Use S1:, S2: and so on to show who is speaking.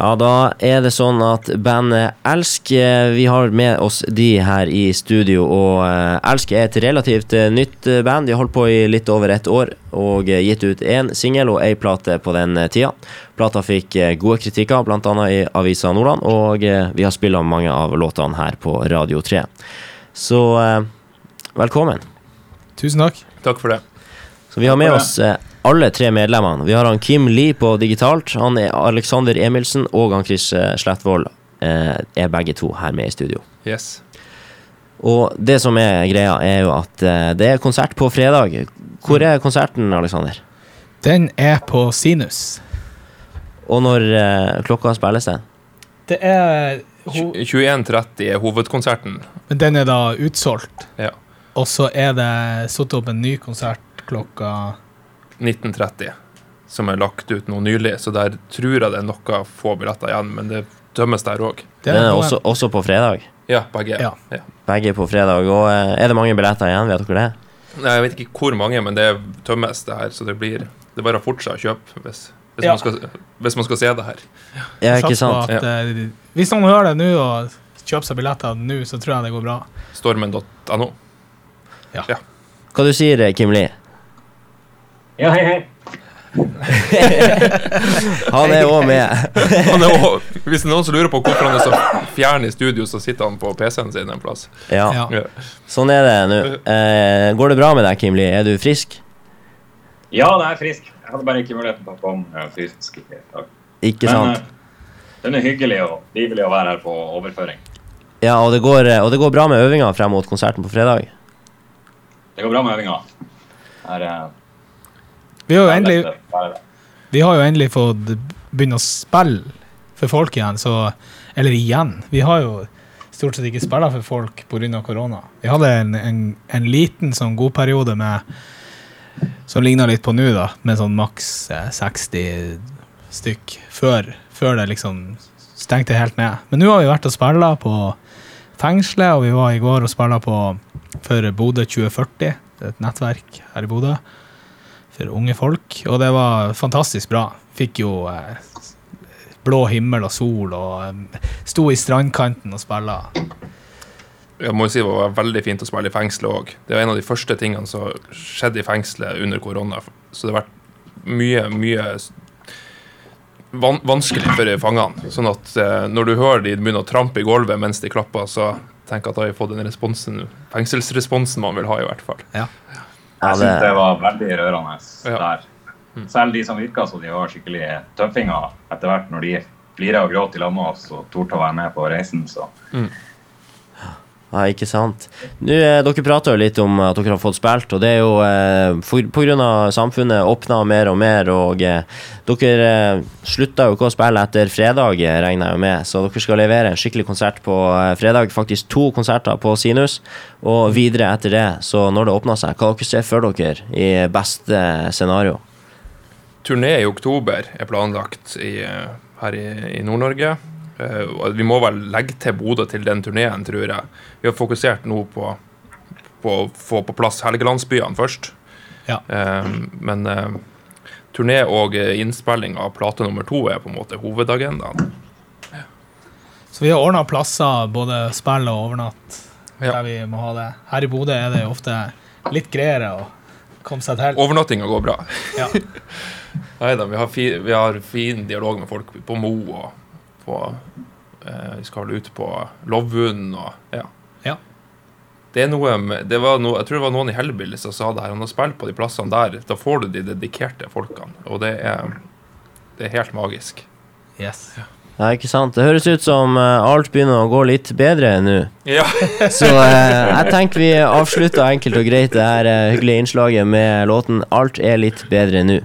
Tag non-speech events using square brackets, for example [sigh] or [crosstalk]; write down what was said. S1: Ja, da er det sånn at bandet Elsk eh, Vi har med oss de her i studio, og eh, Elsk er et relativt eh, nytt eh, band. De har holdt på i litt over ett år og eh, gitt ut én singel og ei plate på den eh, tida. Plata fikk eh, gode kritikker, bl.a. i Avisa Nordland, og eh, vi har spilla mange av låtene her på Radio 3. Så eh, velkommen.
S2: Tusen takk.
S3: Takk for det.
S1: Så vi har med
S3: for det.
S1: oss eh, alle tre medlemmene. Vi har han Kim Lee på digitalt, han er Alexander Emilsen og han Chris eh, Slettvold eh, er begge to her med i studio.
S3: Yes.
S1: Og det som er greia, er jo at eh, det er konsert på fredag. Hvor er konserten, Alexander?
S2: Den er på sinus.
S1: Og når eh, klokka spilles den?
S2: Det er
S3: Tju- 21.30 er hovedkonserten.
S2: Men den er da utsolgt.
S3: Ja.
S2: Og så er det satt opp en ny konsert klokka
S3: 19.30, som er lagt ut nå nylig, så der tror jeg det er noe få billetter igjen, men det tømmes der òg.
S2: Det
S1: Den er
S2: noe-
S1: også, også på fredag.
S3: Ja, begge.
S2: Ja.
S1: Begge på fredag. Og eh, er det mange billetter igjen, vet dere det?
S3: Nei, jeg vet ikke hvor mange, men det tømmes, det her, så det blir Det er bare å fortsette å kjøpe hvis, hvis,
S2: Ja.
S3: man skal, hvis man skal se det her.
S1: Ja,
S2: Sats på
S1: ikke sant?
S2: At, eh, hvis noen hører det nå og kjøper seg billetter nå, så tror jeg det går bra.
S3: Stormen.no.
S1: Hva du sier eh, Kim Lee? [laughs]
S4: Ja, hei, hei.
S1: Han er òg med. [laughs]
S3: Han er også, hvis det er noen som lurer på hvorfor han er så fjern i studio, så sitter han på PC-en sin en plass.
S1: Ja,
S2: Ja.
S3: Ja.
S1: sånn er det nå. Eh, går det bra med deg, Kim Lee? Er du frisk?
S4: Ja, det er frisk. Jeg hadde bare ikke muligheten til å komme eh, fysisk i dag.
S1: Ikke
S4: Men
S1: sant?
S4: eh, den er hyggelig og livlig å være her på overføring.
S1: Ja, og det går, eh, og det går bra med øvinga frem mot konserten på fredag.
S4: Det går bra med øvinga. Her, eh,
S2: Vi har jo
S4: det er
S2: endelig,
S4: lett å være der.
S2: vi har jo endelig fått begynne å spille for folk igjen, så Eller igjen. Vi har jo stort sett ikke spilla for folk pga. korona. Vi hadde en, en, en liten sånn god periode med Som ligna litt på nå, da, med sånn maks eh, 60 stykk før, før det liksom stengte helt ned. Men nå har vi vært og spilla på fengselet, og vi var i går og spilla på for Bodø 2040, Det er et nettverk her i Bodø for unge folk, og det var fantastisk bra. Fikk jo eh, blå himmel og sol, og eh, sto i strandkanten og spilla.
S3: Jeg må jo si det var veldig fint å spille i fengselet òg. Det var en av de første tingene som skjedde i fengselet under korona. Så det har vært mye, mye s- van vanskelig for fangene. Sånn at eh, når du hører de begynne å trampe i gulvet mens de klapper, så tenker jeg at da har vi fått den responsen, fengselsresponsen man vil ha, i hvert fall.
S1: Ja,
S4: Jeg
S1: det,
S4: syns det var veldig rørende
S3: Ja.
S4: der. Selv de som virka som de var skikkelig tøffinger etter hvert, når de flira og gråt i lag med oss og torde å være med på reisen, så
S1: ja, ikke sant. Nå, eh, dere prater jo litt om at dere har fått spilt, og det er jo eh, for, på grunn av samfunnet åpna mer og mer, og eh, dere eh, slutta jo ikke å spille etter fredag, eh, regner jeg jo med, så dere skal levere en skikkelig konsert på eh, fredag. Faktisk to konserter på Sinus, og videre etter det, så når det åpner seg, hva dere ser for dere i beste scenario?
S3: Turné i oktober er planlagt i, eh, her i, i Nord-Norge. Eh, og Vi må vel legge til Bodø til den turneen, tror jeg. Vi har fokusert nå på, på å få på plass Helgelandsbyene først.
S2: Ja.
S3: Eh, Men eh, turné og eh, innspilling av plate nummer to er på en måte hovedagendaen.
S2: Så vi har ordna plasser, både spill og overnatt,
S3: Ja.
S2: der vi må ha det. Her i Bodø er det jo ofte litt greiere å komme seg til.
S3: Overnattinga går bra.
S2: Ja.
S3: Neida, vi, har fi, vi har fin dialog med folk på Mo og på eh, Vi skal vel ut på Lovund og ja.
S2: Ja.
S3: Det er noe med, det var noe, Jeg tror det var noen i Hellbilly som sa det her. Han har spilt på de plassene der. Da får du de dedikerte folkene. Og det er, det er helt magisk.
S2: Yes.
S1: Ja, ikke sant. Det høres ut som eh, alt begynner å gå litt bedre nå.
S3: Ja.
S1: Så eh, jeg tenker vi avslutter enkelt og greit det her eh, hyggelige innslaget med låten 'Alt er litt bedre nå'.